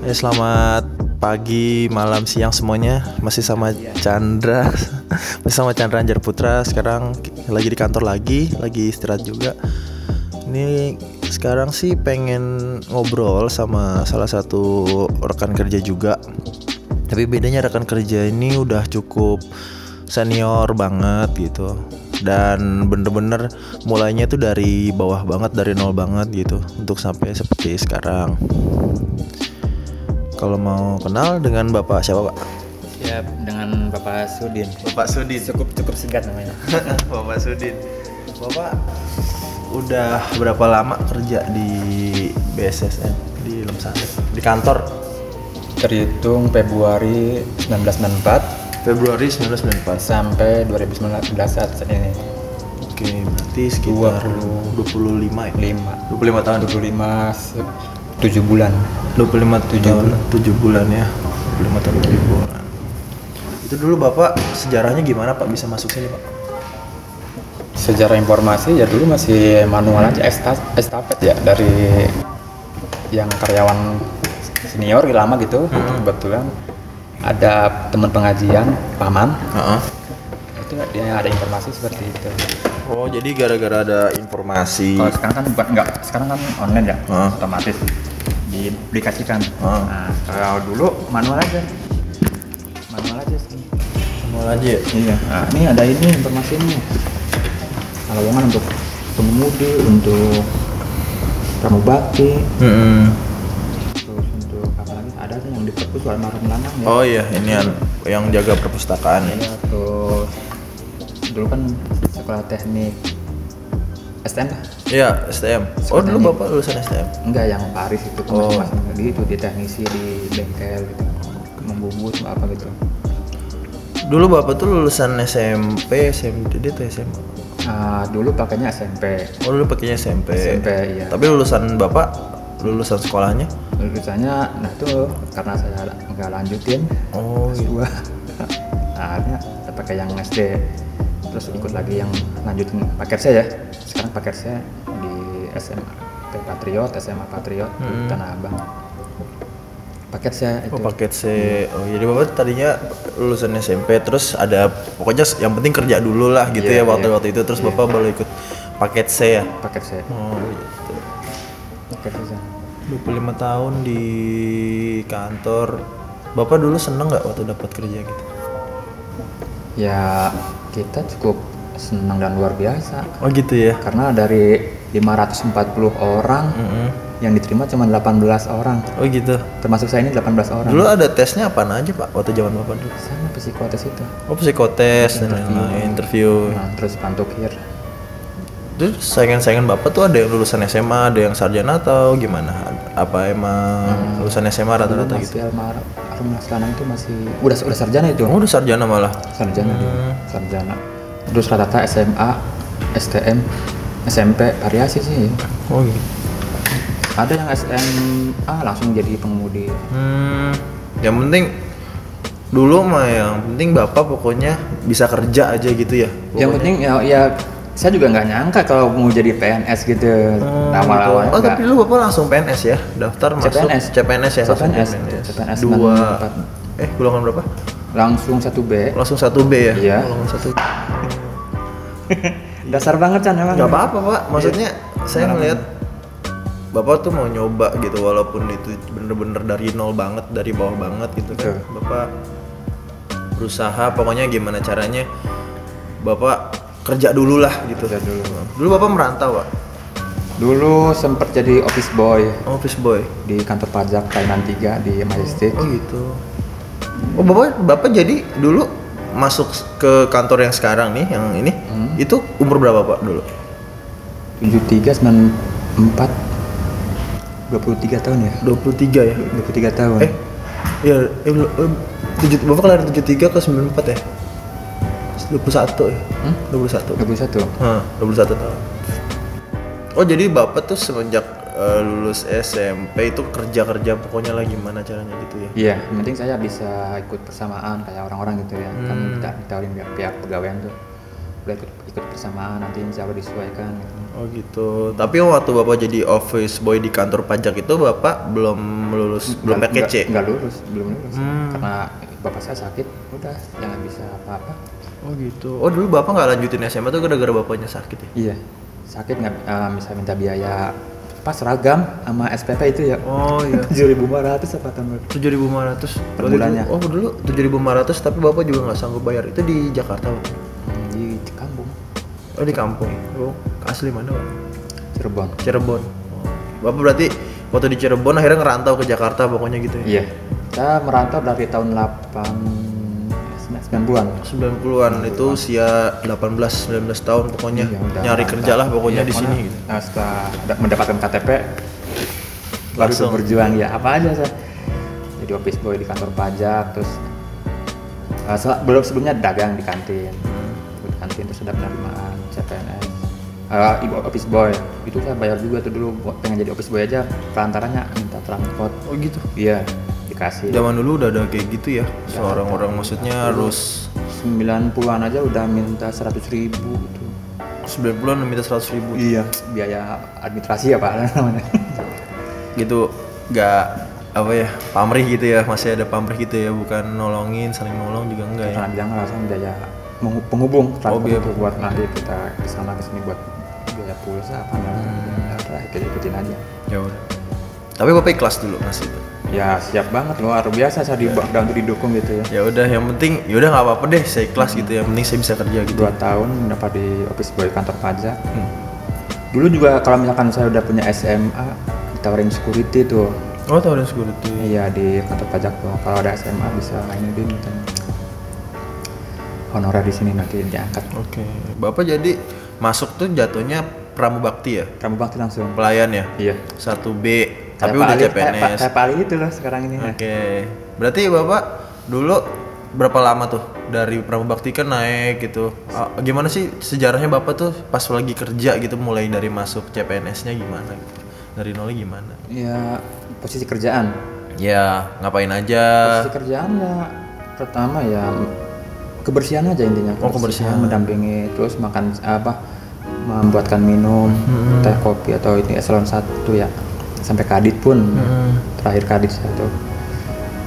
Ya selamat pagi, malam, siang semuanya. Masih sama Chandra, masih sama Chandra Anjar Putra. Sekarang lagi di kantor lagi, lagi istirahat juga. Ini sekarang sih pengen ngobrol sama salah satu rekan kerja juga. Tapi bedanya rekan kerja ini udah cukup senior banget gitu dan bener-bener mulainya tuh dari bawah banget dari nol banget gitu untuk sampai seperti sekarang kalau mau kenal dengan bapak siapa pak Siap Ya, dengan Bapak Sudin. bapak Sudin Cukup cukup singkat namanya. bapak Sudin bapak udah berapa lama kerja di BSSN di Lemsari di kantor Terhitung Februari 1994 Februari 1994 sampai 2019 saat ini. oke berarti sekitar 25 ya 25 5 tahun 25 se- 7 bulan. 25 Tujuh tahun, 7 bulan ya. 25 tahun 7 bulan. Itu dulu Bapak sejarahnya gimana Pak bisa masuk sini Pak? Sejarah informasi ya dulu masih manual aja esta- estafet ya dari yang karyawan senior lama gitu. Kebetulan ada teman pengajian paman itu dia ada informasi seperti itu. Oh, jadi gara-gara ada informasi. Kalau sekarang kan bukan enggak, sekarang kan online ya, Heeh. otomatis diaplikasikan. Heeh. Nah, kalau dulu manual aja. Manual aja sih. Mau aja ya? Iya. Nah, ini ada ini informasinya. Kalau lowongan untuk pengemudi, untuk pramu bakti, terus untuk apa lagi? Ada sih yang di perpus almarhum lanang ya. Oh iya, ini yang, yang jaga perpustakaan. ya. Iya, terus dulu kan sekolah teknik STM lah. Iya, STM. Oh, dulu Bapak lulusan STM. Enggak yang Paris itu Oh. cuma cuma di itu di teknisi di bengkel gitu membungkus apa gitu Dulu Bapak tuh lulusan SMP, SMP tuh SMA. Ah, dulu pakainya SMP Oh, dulu pakainya SMP. SMP iya Tapi lulusan Bapak lulusan sekolahnya? lulusannya nah itu karena saya nggak lanjutin Oh, iya. dua akhirnya saya pakai yang SD terus ikut lagi yang lanjutin paket saya ya sekarang paket saya di SMA Patriot SMA Patriot di Tanah Abang paket saya itu Hmm. Oh paket C. Oh jadi bapak tadinya lulusan SMP terus ada pokoknya yang penting kerja dulu lah gitu ya Iya, waktu iya. waktu itu terus bapak baru ikut paket C ya. paket saya Oh gitu. paket saya 25 tahun di kantor. Bapak dulu seneng nggak waktu dapat kerja gitu? Ya kita cukup senang dan luar biasa Oh gitu ya. karena dari 540 orang Mm-mm. yang diterima cuma 18 orang Oh gitu. termasuk saya ini 18 orang Dulu ada tesnya apaan aja pak waktu zaman bapak dulu? sama psikotes itu Oh psikotes dan lain-lain interview. nah, terus pantokir Terus saingan-saingan bapak tuh ada yang lulusan SMA, ada yang sarjana atau gimana? Apa emang Hmm. lulusan SMA rata-rata gitu? masih almarhum Mas Lanang itu masih udah udah sarjana itu Oh, udah sarjana malah. sarjana dia, sarjana terus rata-rata SMA STM SMP variasi sih Oh gitu. ada yang SMA langsung jadi pengemudi Hmm, yang penting dulu mah yang penting bapak pokoknya bisa kerja aja gitu ya. Yang penting ya, ya saya juga nggak nyangka kalau mau jadi PNS gitu awal-awal. Oh, nggak. tapi lu bapak langsung PNS ya? Daftar masuk CPNS. CPNS ya? langsung CPNS. CPNS Dua. 94. Eh, golongan berapa? langsung satu B. Langsung 1B ya? Iya. Golongan 1B. Dasar banget kan emang. Gak apa-apa pak, maksudnya saya Iya. melihat Bapak tuh mau nyoba gitu walaupun itu bener-bener dari nol banget, dari bawah banget gitu kan Betul. Bapak berusaha pokoknya gimana caranya Bapak kerja dulu lah gitu Kerja dulu. Dulu Bapak merantau pak, Dulu sempat jadi office boy office boy di kantor pajak Thailand 3 di Majestic. Oh gitu Oh Bapak, Bapak jadi dulu masuk ke kantor yang sekarang nih, yang ini Itu umur berapa pak dulu? 73 94 23 tahun ya. 23 ya? 23 tahun. Eh, ya, eh, lu- eh, tujuh, bapak kelahiran 73 ke 94 ya? 21 ya? 21. 21. Hah, 21 tahun. Oh, jadi bapak tuh semenjak eh, lulus SMP itu kerja-kerja pokoknya lah gimana caranya gitu ya? Iya, yang penting Hmm. saya bisa ikut persamaan kayak orang-orang gitu ya. Kan kita ditawarin pihak, pihak pegawaian tuh. juga ikut, ikut bersamaan nanti insya Allah disesuaikan gitu. Oh gitu. Tapi waktu Bapak jadi office boy di kantor pajak itu Bapak belum lulus belum Nggak- paket C. nggak- nggak lulus belum lulus Hmm. karena bapak saya sakit udah jangan bisa apa-apa Oh gitu. Oh dulu Bapak nggak lanjutin SMA tuh gara-gara Bapaknya sakit ya. iya sakit nggak eh, bisa minta biaya pas seragam sama SPP itu ya Oh iya. tujuh ribu apa tambah 7.500 Waktu Per itu- bulannya. Oh dulu 7.500 tapi Bapak juga nggak sanggup bayar. Itu di Jakarta. Pak? Hmm, di kampung Oh di kampung. Oh asli mana Pak? Cirebon Cirebon. Oh. Bapak berarti waktu di Cirebon akhirnya ngerantau ke Jakarta pokoknya gitu ya. iya saya merantau dari tahun 8 90-an 90-an itu usia 18 19 tahun pokoknya Iya, udah nyari merantau. kerja lah pokoknya Iya, di sini gitu. nah, setelah da- mendapatkan KTP baru Langsung. tuh berjuang ya apa aja saya jadi office boy di kantor pajak terus eh, se- belum sebelumnya dagang di kantin di kantin terus ada penerimaan CPNS Eh, ibu office boy itu saya bayar juga tuh dulu buat- pengen jadi office boy aja perantaranya minta transport Oh gitu. iya dikasih Zaman dulu udah ada kayak gitu ya. Seorang orang maksudnya harus 90-an aja udah minta 100 ribu gitu 90-an minta 100 ribu iya biaya administrasi apa namanya gitu nggak apa ya pamrih gitu ya masih ada pamrih gitu ya bukan nolongin saling nolong juga enggak ya karena bilang langsung biaya menghub- penghubung Oh, transport biaya itu buat nanti kita kesana kesini buat biaya pulsa apa namanya Hmm. ya udah kita ikutin aja ya udah tapi bapak ikhlas dulu masih ya siap banget luar biasa saya di Iya. dan untuk didukung gitu ya ya udah yang penting ya udah nggak apa-apa deh saya ikhlas gitu yang penting saya bisa kerja gitu dua tahun mendapat di office boy kantor pajak Hmm. dulu juga kalau misalkan saya udah punya SMA ditawarin security tuh oh tahu dan security iya di kantor pajak tuh kalau ada SMA bisa ini din katanya. honorer di sini nanti diangkat oke bapak jadi masuk tuh jatuhnya pramubakti ya kamu bakti langsung pelayan ya iya 1B Kayak tapi Pak udah Ali- kayak Pak- CPNS kayak Pak Ali itu loh sekarang ini ya. Oke, berarti bapak dulu berapa lama tuh dari Pramubakti kan naik gitu? Ah, gimana sih sejarahnya bapak tuh pas lagi kerja gitu mulai dari masuk CPNS-nya gimana? Gitu? Dari nolnya gimana? Ya posisi kerjaan. Ya ngapain aja? Posisi kerjaan ya pertama ya kebersihan aja intinya. Oh, kebersihan. Mendampingi terus makan apa membuatkan minum Hmm. teh kopi atau ini eselon satu ya sampai kadit pun Hmm. terakhir kadit satu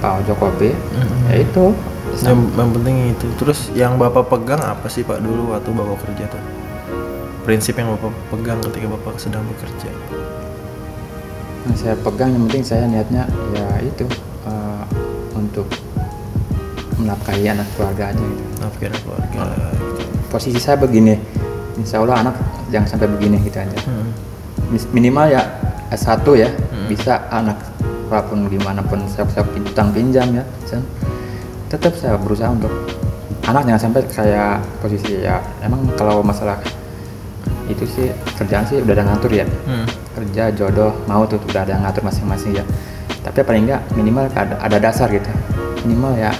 Pak Ojo kopi Hmm. ya itu Yang, yang penting itu. Terus yang bapak pegang apa sih pak dulu waktu bapak kerja tuh? Prinsip yang bapak pegang ketika bapak sedang bekerja? yang saya pegang yang penting saya niatnya ya itu eh, untuk menafkahi anak keluarga aja gitu. Nafkah anak keluarga. gitu. posisi saya begini insya Allah anak jangan sampai begini gitu aja Hmm. Mis- minimal ya S1 ya bisa anak walaupun gimana pun saya, saya pinjam pinjam ya sen- tetap saya berusaha untuk anak jangan sampai kayak posisi ya emang kalau masalah itu sih kerjaan sih udah ada ngatur ya Hmm. kerja jodoh mau tuh udah ada yang ngatur masing-masing ya tapi paling enggak minimal ada, ada dasar gitu minimal ya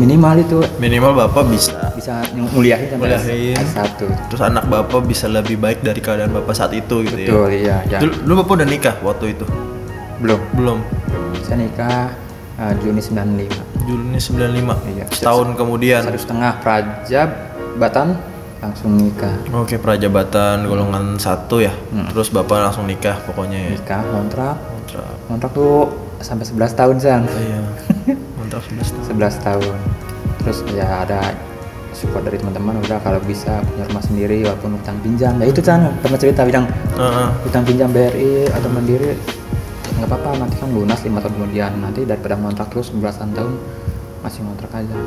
minimal itu Minimal bapak bisa bisa nguliahin sampai Nguliahin. S1 terus anak bapak bisa lebih baik dari keadaan bapak saat itu gitu betul ya. iya ya. Dulu, dulu bapak udah nikah waktu itu? belum Belum. saya nikah eh, Juni 95 Juni 95. Iya. Setahun kemudian. satu setengah Praja Batan langsung nikah Oke, prajabatan golongan satu ya. Hmm. Terus bapak langsung nikah pokoknya ya. nikah kontrak Kontrak. kontrak tuh sampai 11 tahun sang Iya. Kontrak 11 tahun. 11 tahun terus ya ada support dari teman-teman udah kalau bisa punya rumah sendiri walaupun utang pinjam ya itu kan pernah cerita bilang Heeh. utang pinjam BRI atau mandiri nggak apa-apa nanti kan lunas lima tahun kemudian nanti daripada ngontrak terus belasan tahun masih ngontrak aja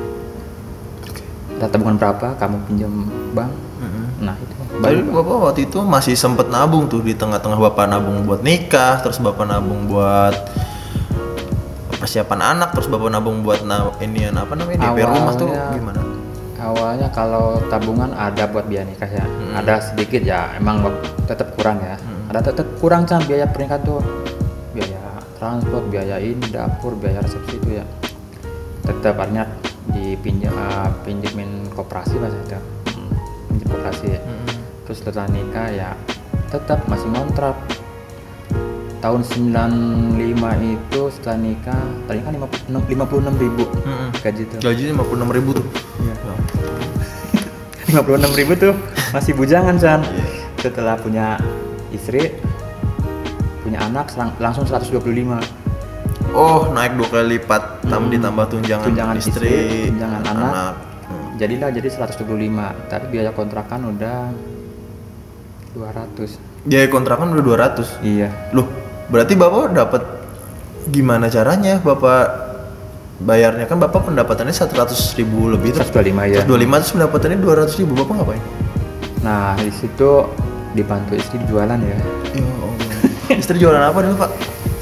ada tabungan berapa kamu pinjam bank Heeh. nah itu Tapi bapak waktu itu masih sempet nabung tuh di tengah-tengah bapak nabung buat nikah, terus bapak nabung buat persiapan anak, terus bapak nabung buat na ini apa namanya DP rumah tuh Awalnya- gimana? awalnya kalau tabungan ada buat biaya nikah ya ada sedikit ya emang tetap kurang ya ada tetap kurang kan biaya pernikahan tuh biaya transport biaya ini dapur biaya resepsi itu ya tetap artinya dipinjam eh, pinjemin koperasi mas itu Hmm, pinjam koperasi ya. terus setelah nikah ya tetap masih ngontrak tahun 95 itu setelah nikah tadi kan 56 ribu Mm-mm. gaji tuh Gajinya 56 ribu tuh. Iya. Ya. 56 ribu tuh masih bujangan San setelah punya istri punya anak selang- langsung 125 Oh, naik dua kali lipat, tam ditambah tunjangan, tunjangan istri, istri, tunjangan anak. Hmm. jadilah jadi 125 tapi biaya kontrakan udah 200 Biaya kontrakan udah 200. iya Loh, berarti Bapak dapat gimana caranya Bapak bayarnya kan Bapak pendapatannya 100.000 ribu lebih terus 125 ya 125 terus pendapatannya 200.000 ribu Bapak ngapain? nah di situ dibantu istri jualan ya Ya Allah. Istri jualan apa dulu Pak?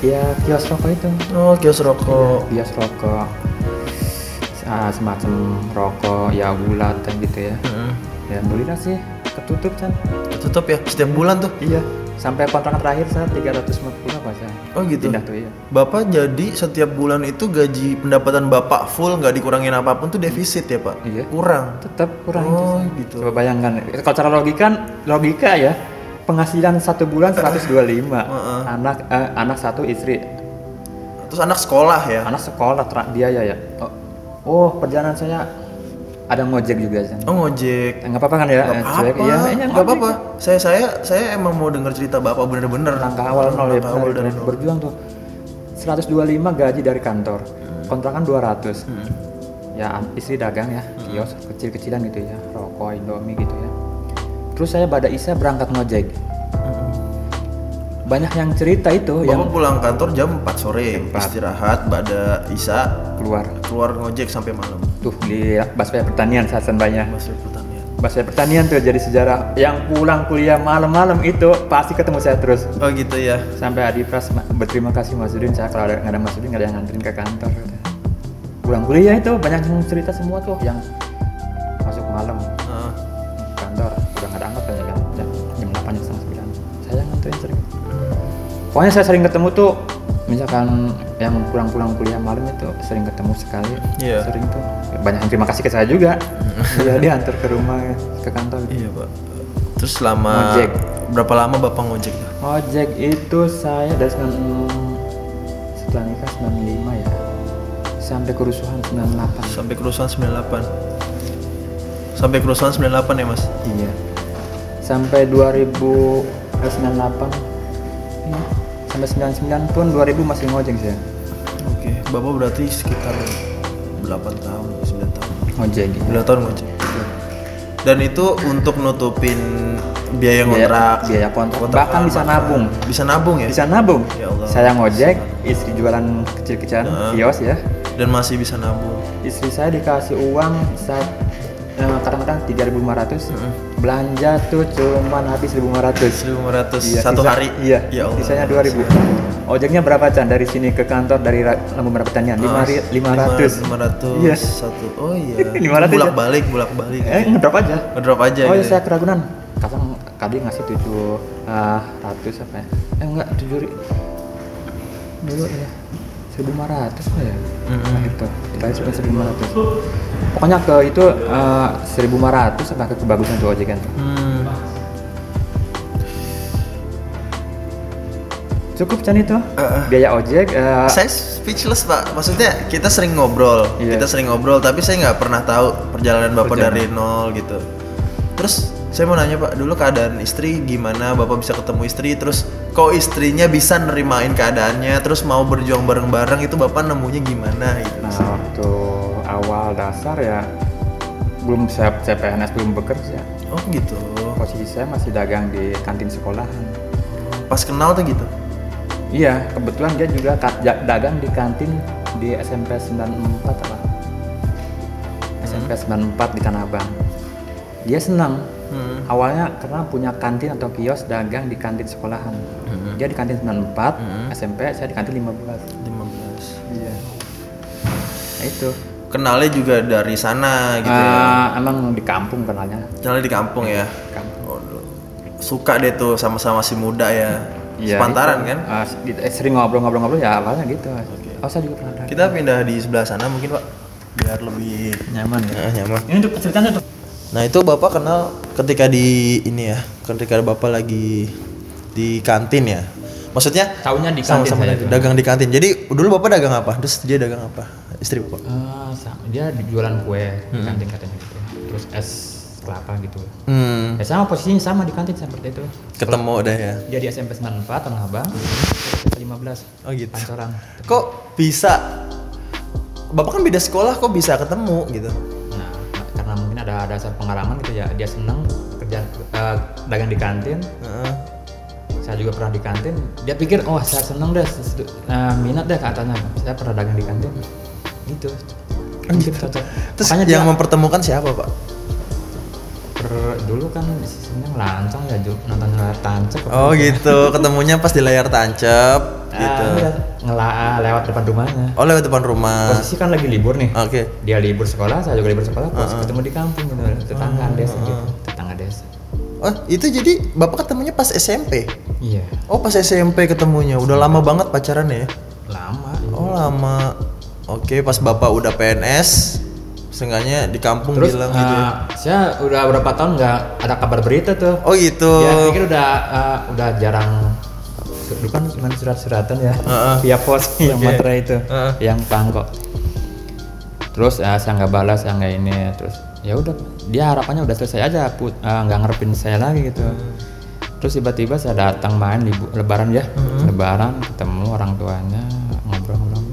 ya kios rokok itu Oh, kios rokok. kios rokok Ah, semacam rokok ya bulatan gitu ya Heeh. ya belilah sih ketutup kan Iya. Hmm, Tutup ya setiap bulan tuh. iya sampai kontrak terakhir saat 350 apa San? Oh gitu. pindah tuh iya Bapak jadi setiap bulan itu gaji pendapatan Bapak full nggak dikurangin apapun tuh defisit ya Pak? Iya. Kurang. tetap kurang itu, Oh San. gitu. coba bayangkan kalau cara logika logika ya penghasilan satu bulan 125 Heeh. anak eh, anak satu istri Terus anak sekolah ya? anak sekolah tra- biaya ya oh, oh, perjalanan saya ada ngojek juga San. Oh ngojek. nggak apa-apa kan Gak ya eh, cuek. apa-apa, Iya, iya, gak ngojek. apa-apa. Saya saya saya emang mau denger cerita bapak bener-bener. langkah awal nol ya Langkah awal benar, dari benar. nol. berjuang tuh 125 gaji dari kantor Hmm. kontrakan 200 ya an- istri dagang ya Hmm. kios kecil-kecilan gitu ya rokok indomie gitu ya terus saya pada Isa berangkat ngojek banyak yang cerita itu yang Bapak pulang kantor jam 4 sore, istirahat, pada Isa keluar keluar ngojek sampai malam. tuh di baswaya pertanian saat banyak Masih pertanian. baswaya pertanian tuh jadi sejarah yang pulang kuliah malam-malam itu pasti ketemu saya terus Oh gitu ya. sampai Adi Pras "Ma- berterima kasih Mas Udin saya kalau ada nggak ada Mas Udin nggak ada yang nganterin ke kantor kata. pulang kuliah itu banyak yang cerita semua tuh yang masuk malam Heeh. ke kantor udah nggak ada angkot kan jam jam jam delapan jam setengah sembilan saya yang nganterin sering pokoknya saya sering ketemu tuh misalkan yang pulang-pulang kuliah malam itu sering ketemu sekali Iya. sering tuh banyak yang terima kasih ke saya juga Iya, dia diantar ke rumah ke kantor Iya pak. Terus selama Ngojek. berapa lama bapak ngojek? tuh? Ojek itu saya dari 96 setelah nikah 95 ya sampai kerusuhan 98 Sampai kerusuhan 98. Sampai kerusuhan 98 ya mas. iya sampai 2000 eh, 98 iya. sampai 99 pun 2000 masih ngojek saya Oke. Bapak berarti sekitar 8 tahun, 9 tahun. ngojek gitu. 9 tahun ngojek. Dan itu untuk nutupin biaya Biaya- kontrak, biaya kontrak. Bahkan bisa makan. nabung. Bisa nabung ya? bisa nabung Ya Allah. saya ngojek istri jualan kecil-kecilan kios ya Dan masih bisa nabung. istri saya dikasih uang saat eh, kadang-kadang 3.500 belanja tuh cuman habis 1.500 1.500 Iya, satu sisa- hari. Iya. Ya Allah. Sisanya 2000. Ojeknya berapa Chan dari sini ke kantor dari Ra- Lampu Merah Pertanian? Lima ri- 500. 500. Iya. Satu. Oh iya. 500 ya? Bolak-balik, bolak-balik. Eh, ngedrop aja. Ngedrop aja oh iya, gitu. saya ke Ragunan. Kadang kali ngasih 7 eh, ratus apa ya? Eh enggak, 7 ri- dulu ya. 1500 apa ya? Mm-mm. Nah, itu. Terakhir cuma 1500. Pokoknya ke itu eh, 1500 sampai ke kebagusan tuh ojek kan. Hmm. Cukup Chan itu. eh. Biaya ojek eh, Saya speechless pak. Maksudnya kita sering ngobrol, Iya. kita sering ngobrol, tapi saya nggak pernah tahu perjalanan bapak Perjalanan. dari nol gitu. Terus saya mau nanya pak, dulu keadaan istri gimana? Bapak bisa ketemu istri, terus kok istrinya bisa nerimain keadaannya, terus mau berjuang bareng-bareng itu bapak nemunya gimana gitu? Nah, waktu awal dasar ya belum saya saya PNS belum bekerja. Oh gitu. Posisi saya masih dagang di kantin sekolahan. Pas kenal tuh gitu. Iya, kebetulan dia juga ka- ja- dagang di kantin di SMP 94 apa? SMP 94 di Tanah Abang. Dia senang. Hmm. Awalnya karena punya kantin atau kios dagang di kantin sekolahan. Dia di kantin 94, Hmm. SMP saya di kantin 15. 15. Iya. Nah, itu. Kenalnya juga dari sana gitu. ya. Ah, emang di kampung kenalnya. Kenalnya di kampung ya. Kampung. Oh, suka deh tuh sama-sama si muda ya. Iya, Sepantaran itu. kan? Ah, s- di- eh, sering ngobrol-ngobrol-ngobrol ya awalnya gitu. Oh saya juga pernah ada. Kita pindah di sebelah sana mungkin pak, biar lebih Nyaman ya. nyaman. Ini untuk ceritanya tuh. Nah itu bapak kenal ketika di ini ya, ketika bapak lagi di kantin ya. Maksudnya Tahunya di kantin sama-sama saya dagang- itu. dagang di kantin. Jadi dulu bapak dagang apa? Terus dia dagang apa? Istri bapak. Eh, dia di jualan kue di kantin katanya gitu. ya. Terus es kelapa gitu Hmm, ya sama posisinya sama di kantin seperti itu ketemu udah ya. dia di SMP 94 Tanah Abang SMP 15 Oh gitu. Pancoran Kok bisa? Bapak kan beda sekolah kok bisa ketemu gitu. nah karena mungkin ada ada asal pengalaman gitu ya dia seneng kerja eh, dagang di kantin Heeh. saya juga pernah di kantin dia pikir oh saya seneng deh sesu- eh, minat deh ke atasnya saya pernah dagang di kantin gitu mungkin cocok Terus makanya yang dia mempertemukan siapa, Pak? per- dulu kan seneng lancang ya Ju. nonton nonton tancap Oh gitu, ketemunya pas di layar tancap gitu. ah, lewat depan rumahnya Oh lewat depan rumah. posisi kan lagi libur nih Oke. dia libur sekolah saya juga libur sekolah Ah. terus ketemu di kampung gitu tetangga desa gitu tetangga desa Oh itu jadi bapak ketemunya pas SMP. iya Oh pas SMP ketemunya, udah lama banget pacaran ya? lama Oh lama. Oke pas bapak udah PNS, seenggaknya di kampung terus bilang eh, gitu. ya. saya udah berapa tahun nggak ada kabar berita tuh Oh gitu. dia pikir udah eh, udah jarang dulu kan cuma surat-suratan ya Heeh. via pos Ah, yang Oke. Ah. materai itu Heeh. yang pangkok terus eh, saya nggak balas saya nggak ini terus ya udah dia harapannya udah selesai aja put eh, nggak ngarepin saya lagi gitu terus tiba-tiba saya datang main libu, lebaran ya lebaran ketemu orang tuanya ngobrol-ngobrol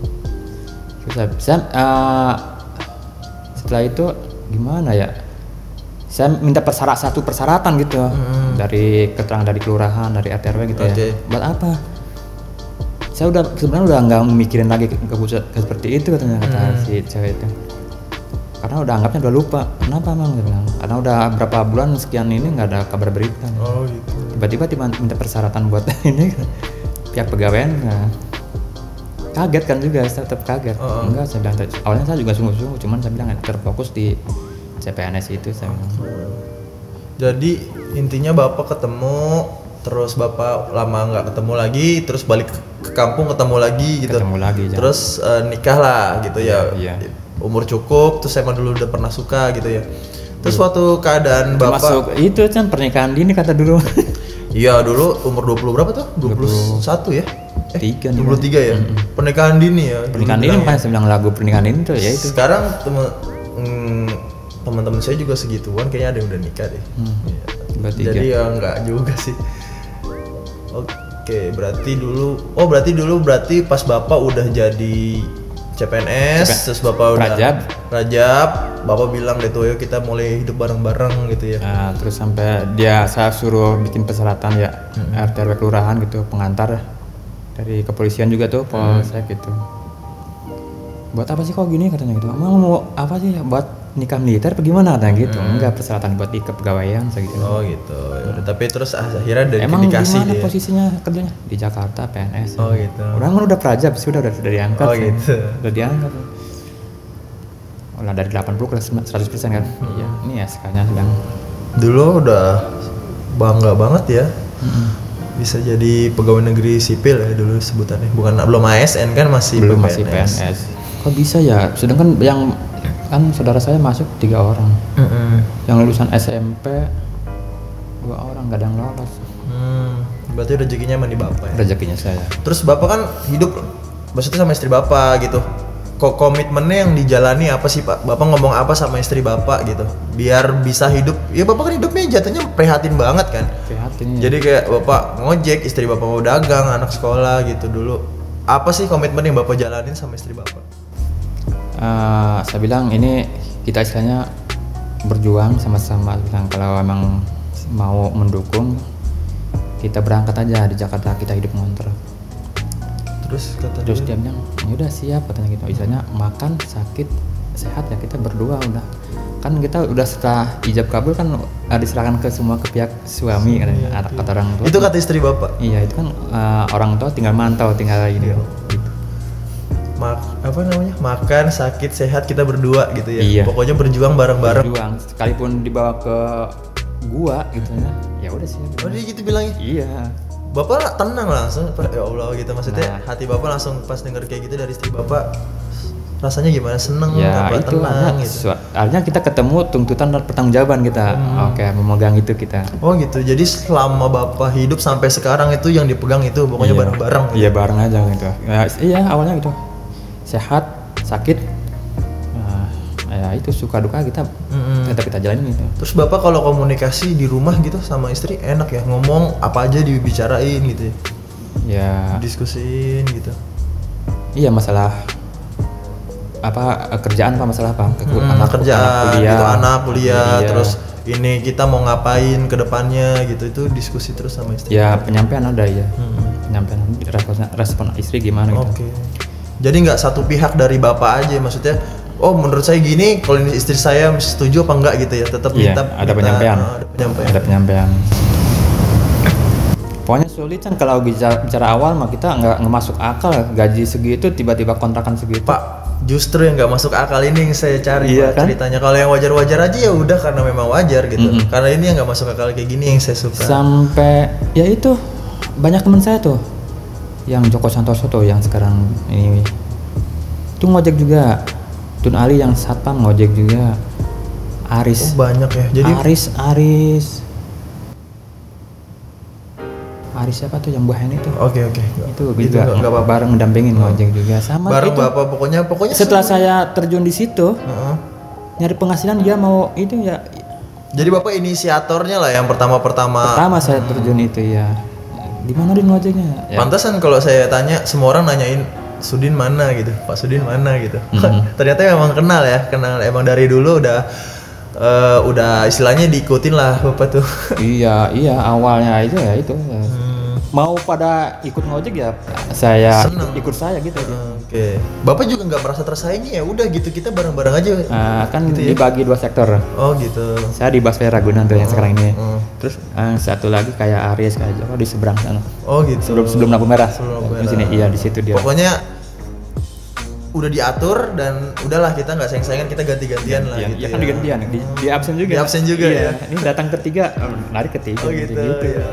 terus saya, saya, eh, setelah itu gimana ya saya minta persyarat satu persyaratan gitu dari keterangan dari kelurahan dari RTRW gitu Oke. ya buat apa saya udah sebenarnya udah nggak mikirin lagi ke, ke, ke seperti itu katanya kata si cewek itu karena udah anggapnya udah lupa kenapa emang dia bilang karena udah berapa bulan sekian ini nggak ada kabar berita Oh gitu. tiba-tiba tiba minta persyaratan buat ini pihak pegawaian nah, kaget kan juga saya tetap kaget Heeh. enggak saya bilang tadi- awalnya saya juga sungguh-sungguh cuman saya bilang terfokus di CPNS itu saya bilang Jadi intinya bapak ketemu, terus bapak lama nggak ketemu lagi, terus balik ke- ke kampung ketemu lagi gitu. ketemu lagi jangan- Terus eh, nikah lah gitu ya. Iya. Umur cukup, terus emang dulu udah pernah suka gitu ya. Terus waktu keadaan bapak, Iya. termasuk itu kan pernikahan dini kata dulu iya dulu umur 20 berapa tuh? 21 ya? Eh, tiga nih 23 ya? Pernikahan dini ya? dulu pernikahan dini bilang. makanya saya bilang lagu pernikahan dini tuh ya itu Sekarang temen mm, teman-teman saya juga segituan kayaknya ada yang udah nikah deh. Hmm. Iya. Bertiga. Jadi ya nggak juga sih. Oke, berarti dulu oh berarti dulu berarti pas Bapak udah jadi CPNS CPNS. terus Bapak udah Rajab. Rajab, Bapak bilang deh tuh "Ayo kita mulai hidup bareng-bareng gitu ya. Nah, terus sampai dia saya suruh bikin persyaratan ya Hmm. RT RW kelurahan gitu pengantar ya. dari kepolisian juga tuh Hmm. polsek gitu. Buat apa sih kok gini katanya gitu? Emang mau apa sih buat nikah militer apa gimana katanya gitu? Hmm. Enggak persyaratan buat di kepegawaian saya gitu. Oh gitu. Ya udah, Tapi terus ah, akhirnya dari Emang dikasih gimana dia. posisinya kerjanya di Jakarta PNS? Oh gitu. Orang kan udah prajab sih udah udah, udah diangkat. Oh, sih. gitu. Udah diangkat. Ulah dari 80 ke 100 persen kan? Hmm. Iya. Ini ya sekarang sedang. Dulu udah bangga banget ya. Bisa jadi pegawai negeri sipil ya dulu sebutannya. Bukan belum ASN kan masih belum masih PNS. Kok bisa ya? Sedangkan yang kan saudara saya masuk tiga orang, Mm-mm. yang lulusan SMP dua orang nggak ada yang lolos. Hmm, berarti rezekinya emang di bapak ya. Rezekinya saya. Terus bapak kan hidup maksudnya sama istri bapak gitu. Kok komitmennya yang dijalani apa sih pak? Bapak ngomong apa sama istri bapak gitu? Biar bisa hidup. Ya bapak kan hidupnya jatuhnya prihatin banget kan. Prihatin. Jadi kayak bapak ngojek, istri bapak mau dagang, anak sekolah gitu dulu. Apa sih komitmen yang bapak jalanin sama istri bapak? Eh, saya bilang ini kita istilahnya berjuang sama-sama Saya bilang kalau emang mau mendukung kita berangkat aja di Jakarta kita hidup ngontrak Terus kata terus dia, dia bilang ya udah siap katanya gitu istilahnya makan sakit sehat ya kita berdua udah kan kita udah setelah ijab kabul kan eh, diserahkan ke semua ke pihak suami katanya kata, kata orang tua itu kan kata istri bapak. iya itu kan eh, orang tua tinggal mantau tinggal ini gitu. Mak apa namanya? Makan, sakit, sehat kita berdua gitu ya. Iya. Pokoknya berjuang bareng-bareng. berjuang sekalipun dibawa ke gua gitu ya ya udah siap Oh dia gitu bilangnya. iya Bapak lah tenang langsung, Pak. ya Allah gitu maksudnya Nah. hati bapak langsung pas denger kayak gitu dari istri bapak rasanya gimana seneng ya apa itu tenang artinya, gitu. sua- artinya kita ketemu tuntutan dan pertanggungjawaban kita Mm-hmm. oke memegang itu kita Oh gitu, jadi selama bapak hidup sampai sekarang itu yang dipegang itu pokoknya Iya. bareng-bareng. gitu. Iya bareng aja gitu. Ya, s- iya awalnya gitu. Sehat, sakit, eh, ya itu suka duka kita Mm-mm. tetap kita jalanin gitu Terus bapak kalau komunikasi di rumah gitu sama istri enak ya ngomong apa aja dibicarain gitu, ya? ya diskusiin gitu. iya masalah apa kerjaan apa masalah apa Ke- Hmm, kerjaan gitu anak kuliah Iya. terus ini kita mau ngapain ke depannya gitu itu diskusi terus sama istri. ya penyampaian ada ya Hmm. penyampaian respon, respon istri gimana Oke. gitu Jadi nggak satu pihak dari bapak aja maksudnya. Oh menurut saya gini kalau ini istri saya setuju apa enggak gitu ya tetap Iya, minta- ada minta- penyampaian. oh, ada penyampaian. ada penyampaian pokoknya sulit kan kalau bicara, bicara awal mah kita nggak nggak masuk akal gaji segitu tiba-tiba kontrakan segitu Pak justru yang nggak masuk akal ini yang saya cari Iya Pak, kan? ceritanya kalau yang wajar-wajar aja ya udah karena memang wajar gitu Mm-mm. karena ini yang nggak masuk akal kayak gini yang saya suka sampai ya itu banyak teman saya tuh yang Joko Santoso tuh yang sekarang ini itu ngojek juga Tun Ali yang satpam ngojek juga oh Aris banyak ya jadi Aris Aris Aris siapa tuh yang buahan itu oke oke Ah. itu Gitu juga nggak- nggak apa-apa bareng mendampingin ngojek juga sama bareng itu bapak pokoknya pokoknya setelah saya terjun di situ Heeh. nyari penghasilan dia mau itu ya jadi bapak inisiatornya lah yang pertama-pertama pertama saya terjun itu ya di mana din ngojeknya ya, pantasan kalau saya tanya semua orang nanyain Sudin mana gitu Pak Sudin mana gitu ternyata memang kenal ya kenal emang dari dulu udah eh, udah istilahnya diikutin lah bapak tuh iya iya awalnya itu ya itu ya. Hmm, mau pada ikut ngojek ya saya Seneng. ikut saya gitu eh, oke bapak juga nggak merasa tersaingi ya udah gitu kita bareng-bareng aja Ah, kan dibagi dua sektor oh gitu saya di Baswe Ragunan tuh yang sekarang ini Hmm. terus ah, satu lagi kayak Aries kayak Joko di seberang sana oh gitu sebelum sebelum lampu merah Sebelum lampu di sini iya di situ dia pokoknya udah diatur dan udahlah kita nggak sayang-sayangan kita ganti-gantian lah Iya, gitu iya kan digantian di, di absen juga. Di absen juga, ya. Iya, Ini datang ketiga, eh, lari ketiga. Oh gitu, ya.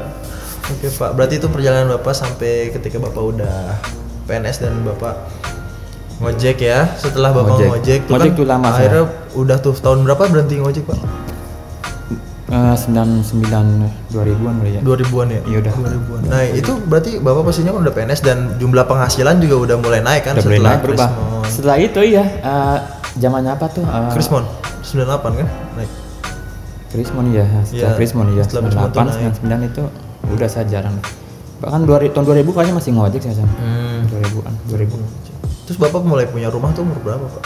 Oke Pak, berarti itu perjalanan Bapak sampai ketika Bapak udah PNS dan Bapak ngojek ya. Setelah Bapak Ngojek. ngojek, tuh Ngojek kan tuh lama saya. akhirnya udah tuh tahun berapa berhenti ngojek Pak? Eh, Sembilan sembilan dua ribuan kali ya. 2000-an ya? Iya udah. 2000-an. Nah itu berarti Bapak posisinya kan udah PNS dan jumlah penghasilan juga udah mulai naik kan Udah mulai setelah naik, berubah. Krismon. Setelah itu iya, eh, zamannya apa tuh? Eh, Krismon 98 kan naik. Krismon ya. Setelah Iya, Krismon ya. setelah Krismon Sembilan tuh delapan naik. sembilan sembilan itu udah saya jarang. Bahkan dua ri- tahun dua ribu kayaknya masih ngojek saya sama. Dua ribuan, dua ribu, Terus Bapak mulai punya rumah tuh umur berapa Pak?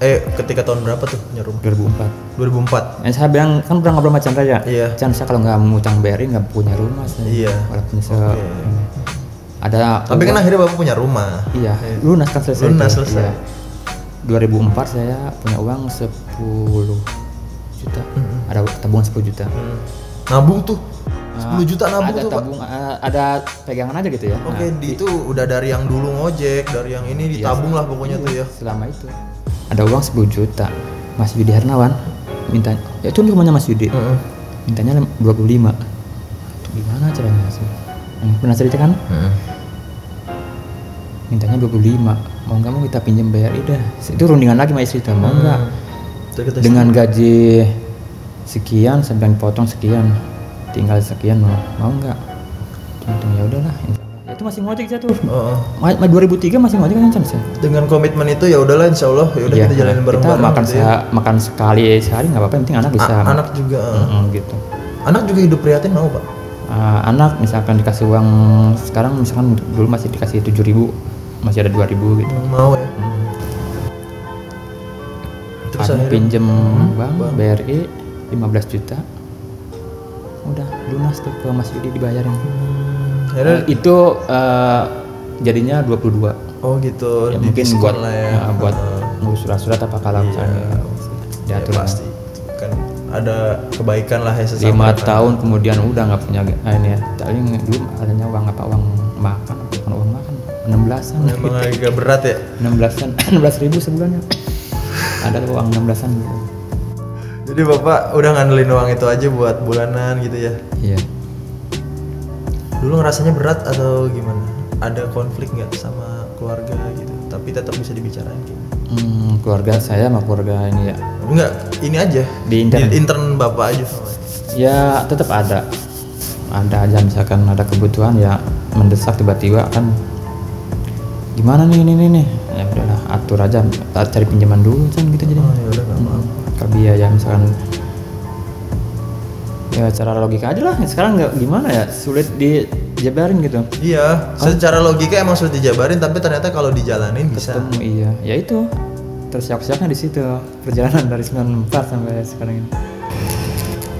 Eh ketika tahun berapa tuh punya rumah? dua ribu empat. 2004. Eh, saya bilang kan pernah ngobrol sama Chandra ya. Iya. Chan saya kalau nggak mengutang BRI nggak punya rumah saya. Iya. Walaupun saya Oke. ada Tapi kan akhirnya Bapak punya rumah. Iya, lunas kan selesai. Lunas itu, selesai. iya. 2004 saya punya uang 10 juta. Ada tabungan 10 juta. Hmm. Nabung tuh 10 juta nabung ada tuh Pak. Ah, tabung eh, ada pegangan aja gitu ya. Oke, Nah, Iya. di itu udah dari yang dulu ngojek, dari yang ini ditabung lah pokoknya tuh ya. selama itu ada uang 10 juta. Mas Yudi Hernawan minta ya itu rumahnya Mas Hmm. Yudi. Mintanya lem- 25. Itu Gimana caranya sih? Yang pernah cerita kan? Mintanya 25. Mau nggak mau kita pinjam BRI dah. Itu rundingan lagi sama istri tuh. Mau Hmm, nggak? Terus kita dengan gaji sekian sedang potong sekian tinggal sekian mau mau nggak untung ya udahlah insya Allah. itu masih ngojek saya tuh Oh, oh. Ma- ma- 2003 masih ngojek kan Chan, saya dengan komitmen itu ya udahlah insya Allah ya udah Iya, kita jalanin bareng kita bareng makan seha- makan sekali sehari nggak apa-apa yang penting anak bisa anak juga eh. Mm-mm, gitu anak juga hidup prihatin mau pak Ah, anak misalkan dikasih uang sekarang misalkan dulu masih dikasih 7000 masih ada 2000 gitu mau ya terus Ada akhirnya Hmm? pinjem bank BRI 15 juta udah lunas tuh ke Mas Yudi dibayarin hmm, akhirnya Eh, itu eh, jadinya 22 oh gitu ya di mungkin diskon buat lah ya Iya. eh, buat ngurus surat-surat apa kalau misalnya Ya, diatur pasti kan ada kebaikan lah ya sesama lima tahun kemudian udah nggak punya ge- ah, ini ya paling dulu adanya uang apa uang makan bukan uang makan 16an memang agak berat ya 16an 16 ribu sebulannya ada tuh uang 16an gitu Jadi bapak udah ngandelin uang itu aja buat bulanan gitu ya. iya Dulu ngerasanya berat atau gimana? Ada konflik nggak sama keluarga gitu? Tapi tetap bisa dibicarain. Gitu. Hmm, keluarga saya sama keluarga ini ya Enggak, ini aja. Di intern? intern Oh, bapak aja. ya tetap ada ada aja misalkan ada kebutuhan ya mendesak tiba-tiba kan gimana nih ini nih, nih? ya udahlah at- atur aja ntar cari pinjaman dulu Chan gitu jadi Oh, ya udah nggak apa-apa. kalau dia ya misalkan ya secara logika aja lah sekarang nggak gimana ya sulit dijabarin gitu Iya, secara logika emang sudah dijabarin tapi ternyata kalau dijalanin bisa. ketemu iya ya itu tersiak-siaknya di situ perjalanan dari 94 sampai sekarang ini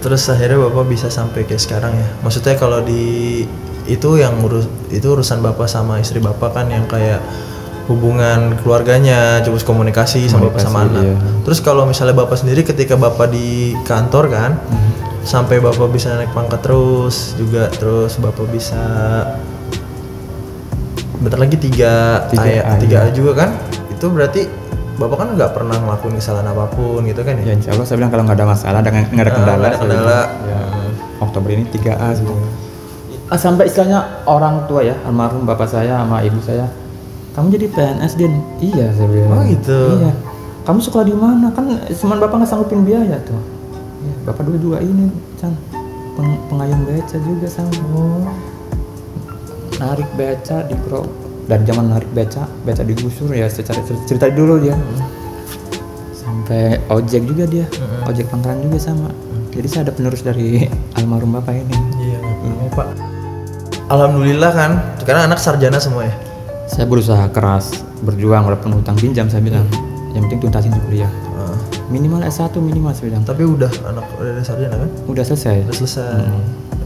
Terus akhirnya Bapak bisa sampai kayak sekarang ya. Maksudnya kalau di itu yang urus itu urusan Bapak sama istri Bapak kan yang kayak hubungan keluarganya, terus komunikasi, sama Bapak sama anak. iya. Terus kalau misalnya Bapak sendiri ketika Bapak di kantor kan Mhm. sampai Bapak bisa naik pangkat terus juga terus Bapak bisa bentar lagi tiga Tiga ayat A, iya. tiga A juga kan itu berarti bapak kan nggak pernah ngelakuin kesalahan apapun gitu kan ya ya insya Allah saya bilang kalau nggak ada masalah dengan nggak ada Ah, kendala, nggak ada saya bilang. kendala. ya, Oktober ini 3A sebenarnya Ah, sampai istilahnya orang tua ya almarhum bapak saya sama ibu saya kamu jadi PNS Din iya saya bilang Oh, gitu. iya kamu sekolah di mana kan cuman bapak nggak sanggupin biaya tuh iya, bapak dulu juga ini Chan peng- pengayom beca juga sama narik beca di bro dan zaman narik beca beca digusur ya secara cer- cerita dulu dia sampai ojek juga dia ojek pangkalan juga sama jadi saya ada penerus dari almarhum bapak ini iya nggak apa-apa, pak alhamdulillah kan karena anak sarjana semua ya saya berusaha keras berjuang walaupun hutang pinjam saya bilang yang penting tuntasin dulu kuliah Ah, Mm. minimal S1 minimal saya bilang tapi udah anak udah ada sarjana kan udah selesai udah selesai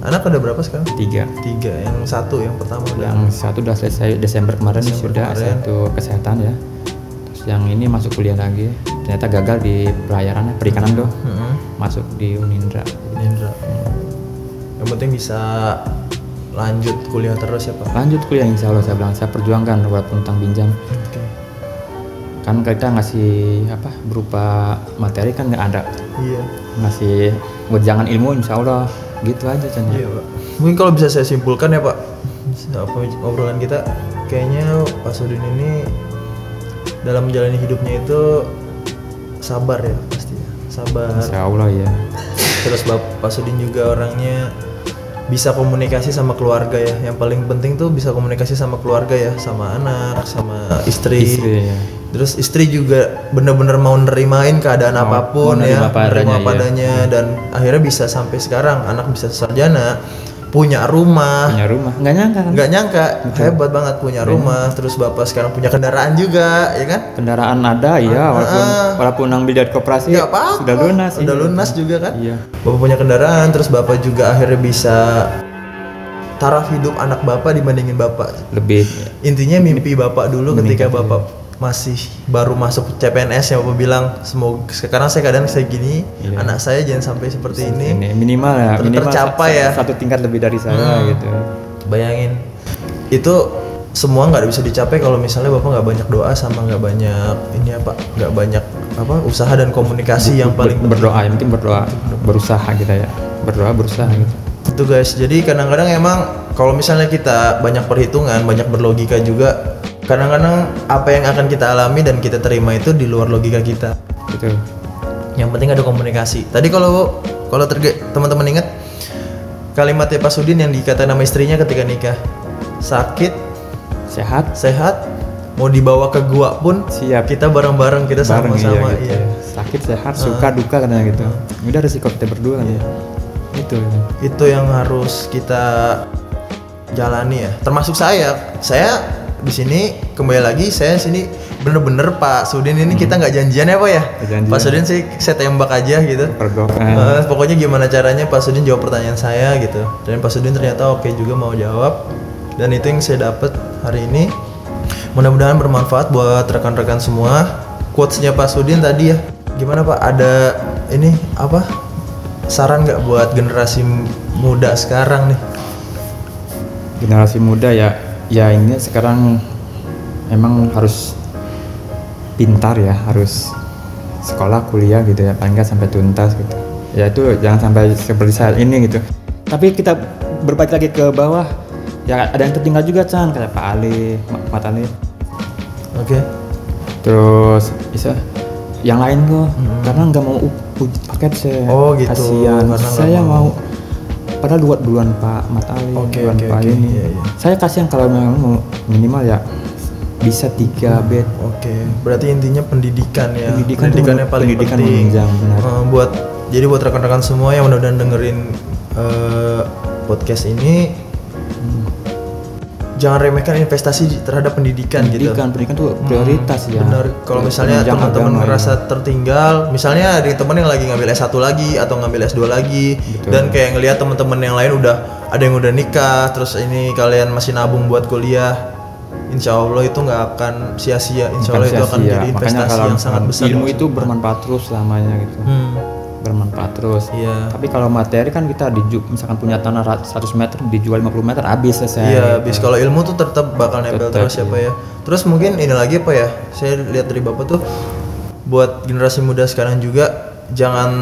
anak ada berapa sekarang tiga Hmm. tiga yang satu yang pertama udah yang satu udah selesai Desember kemarin sudah kemarin. satu kesehatan ya terus yang ini masuk kuliah lagi ternyata gagal di pelayaran perikanan doh Mm-mm. masuk di Unindra Indra yang penting bisa lanjut kuliah terus ya pak lanjut kuliah insya Allah saya bilang saya perjuangkan walaupun hutang pinjam oke kan kita ngasih apa berupa materi kan nggak ada iya ngasih wejangan ilmu insya Allah gitu aja Chan Iya pak. Mungkin kalau bisa saya simpulkan ya pak, apa obrolan kita kayaknya Pak Sudin ini dalam menjalani hidupnya itu sabar ya pasti ya, sabar. insya Allah ya Terus Bap- Pak Sudin juga orangnya bisa komunikasi sama keluarga ya. Yang paling penting tuh bisa komunikasi sama keluarga ya, sama anak, sama istri. istri ya Terus istri juga bener-bener mau nerimain keadaan Mau- apapun mau ya, nerima apa adanya, nerima iya. padanya dan akhirnya bisa sampai sekarang anak bisa sarjana, punya rumah. punya rumah nggak nyangka kan Ah. Nggak nyangka, hebat banget punya rumah. Terus bapak sekarang punya kendaraan juga, ya kan? kendaraan ada iya walaupun walaupun ambil dari Ah, koperasi Nggak apa-apa. Iya, sudah lunas Udah iya. lunas juga kan? iya Bapak punya kendaraan, terus bapak juga akhirnya bisa taraf hidup anak bapak dibandingin bapak. lebih Intinya mimpi bapak dulu ketika bapak masih baru masuk CPNS yang bapak bilang semoga sekarang saya kadang saya gini anak saya jangan sampai seperti ini ini minimal ya Ter- minimal tercapai sa- ya. Ah. satu tingkat lebih dari saya gitu bayangin itu semua nggak bisa dicapai kalau misalnya bapak nggak banyak doa sama nggak banyak ini apa nggak banyak apa usaha dan komunikasi yang paling penting. berdoa yang penting berdoa berusaha kita ya berdoa berusaha gitu itu guys jadi kadang-kadang emang kalau misalnya kita banyak perhitungan banyak berlogika juga kadang-kadang apa yang akan kita alami dan kita terima itu di luar logika kita gitu yang penting ada komunikasi tadi kalau kalau terge- teman-teman ingat kalimatnya Pak Sudin yang dikatakan sama istrinya ketika nikah sakit sehat sehat mau dibawa ke gua pun siap kita bareng-bareng kita bareng iya, sama-sama gitu. iya. sakit sehat suka duka katanya gitu udah resiko kita Iya. berdua kan ya itu ya. itu yang harus kita jalani ya termasuk saya saya di sini kembali lagi saya sini bener-bener Pak Sudin ini kita nggak janjian ya Pak ya Hmm. Nggak janjian. Pak Sudin sih saya tembak aja gitu pergokan Eh, pokoknya gimana caranya Pak Sudin jawab pertanyaan saya gitu dan Pak Sudin ternyata oke juga mau jawab dan itu yang saya dapat hari ini mudah-mudahan bermanfaat buat rekan-rekan semua quotesnya Pak Sudin tadi ya gimana Pak ada ini apa saran nggak buat generasi m- muda sekarang nih generasi muda ya ya ini sekarang emang harus pintar ya harus sekolah kuliah gitu ya paling nggak sampai tuntas gitu ya itu jangan sampai seperti saat ini gitu tapi kita berbalik lagi ke bawah ya ada yang tertinggal juga Chan kayak Pak Ali Ma- Mat Ali oke terus bisa yang lain tuh karena nggak mau u- uji paket saya Hmm. Oh, gitu. kasihan Karena nggak saya mau padahal dua duluan Pak Mat Ali Oke, duluan oke, Pak oke. ini Iya, iya. Hmm. saya kasihan kalau memang mau minimal ya bisa 3 B oke berarti intinya pendidikan ya. Pendidikan tuh Pendidikannya men- paling pendidikan penting. menunjang, benar. Eh, buat jadi buat rekan-rekan semua yang mudah-mudahan dengerin eh, podcast ini Hmm. jangan remehkan investasi di- terhadap pendidikan, gitu. pendidikan pendidikan tuh prioritas ya Benar, kalau misalnya Penunjang agama, teman-teman ya. ngerasa tertinggal, misalnya ada teman yang lagi ngambil S1 lagi atau ngambil S2 lagi dan kayak ngelihat teman-teman yang lain udah ada yang udah nikah, terus ini kalian masih nabung buat kuliah. Insya Allah itu nggak akan sia-sia. Insya Allah itu akan Sia-sia. jadi Makanya investasi kalau yang sangat besar. ilmu itu bermanfaat terus selamanya gitu Hmm, bermanfaat terus Iya. tapi kalau materi kan kita diju- misalkan punya tanah rat- 100 meter dijual 50 meter habis selesai Iya, bis kalau ilmu tuh tetap bakal nempel Tetap, terus ya, Pak ya. Terus mungkin ini lagi apa ya? Saya lihat dari Bapak tuh buat generasi muda sekarang juga jangan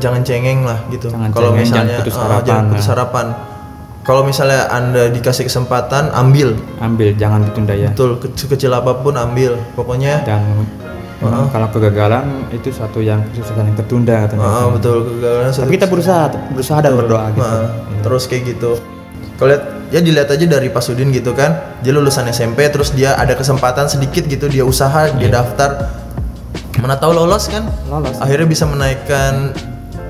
jangan cengeng lah gitu. Jangan Kalau cengeng, jangan misalnya putus eh, harapan, jangan ya. putus harapan. Kalau misalnya Anda dikasih kesempatan, ambil. ambil jangan ditunda ya Betul, kecil-kecil apapun ambil. Pokoknya dan Oh. memang kalau kegagalan itu satu yang kesuksesan yang tertunda katanya eh, betul kegagalan suatu Iya. tapi kita berusaha berusaha dan berdoa gitu Heeh, Nah, terus kayak gitu kalau lihat ya dilihat aja dari Pak Sudin gitu kan dia lulusan SMP terus dia ada kesempatan sedikit gitu dia usaha dia Iya. daftar mana tahu lolos kan Lolos. akhirnya bisa menaikkan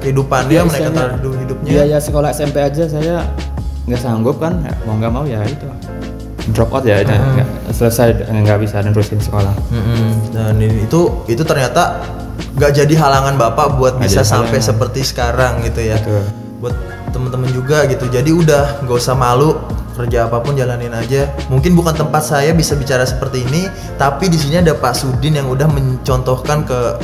kehidupan Iya, dia menaikkan taraf hidup- hidupnya biaya sekolah SMP aja saya nggak sanggup kan ya, mau nggak mau ya itu drop out ya dan Ah. nggak- selesai nggak bisa nerusin sekolah Mm-mm. dan ini- itu itu ternyata nggak jadi halangan bapak buat Nggak bisa jadi sampai halangan. seperti sekarang gitu ya Betul. buat temen-temen juga gitu jadi udah nggak usah malu kerja apapun jalanin aja mungkin bukan tempat saya bisa bicara seperti ini tapi di sini ada Pak Sudin yang udah mencontohkan ke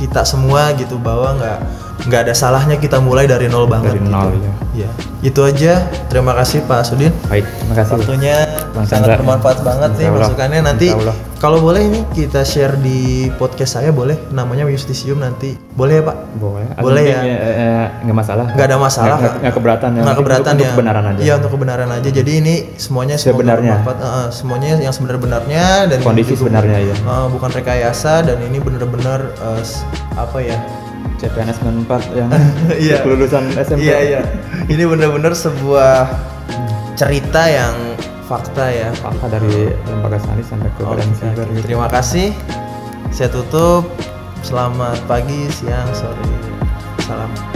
kita semua gitu bahwa nggak nggak ada salahnya kita mulai dari nol banget dari gitu. nol ya ya itu aja terima kasih Pak Sudin baik terima kasih waktunya Bang sangat Chandra. bermanfaat banget nih Insya Allah. masukannya nanti Insya Allah. kalau boleh ini kita share di podcast saya boleh namanya Justisium nanti boleh ya Pak boleh atau Boleh mungkin ya. eh, eh, nggak masalah nggak ada masalah nggak, nggak keberatan ya nggak Mungkin keberatan untuk, ya. untuk kebenaran aja iya untuk kebenaran aja jadi ini semuanya semoga Sebenarnya. bermanfaat. Eh, eh, semuanya yang sebenar-benarnya dan ini kondisi bu- sebenarnya ya eh, bukan rekayasa dan ini benar-benar eh, s- apa ya CPNS 94 yang Iya. kelulusan SMP iya iya ini benar-benar sebuah cerita yang fakta ya fakta dari lembaga sains sampai ke Oke, badan siber oke. Terima kasih. Saya tutup. Selamat pagi, siang, sore. Salam.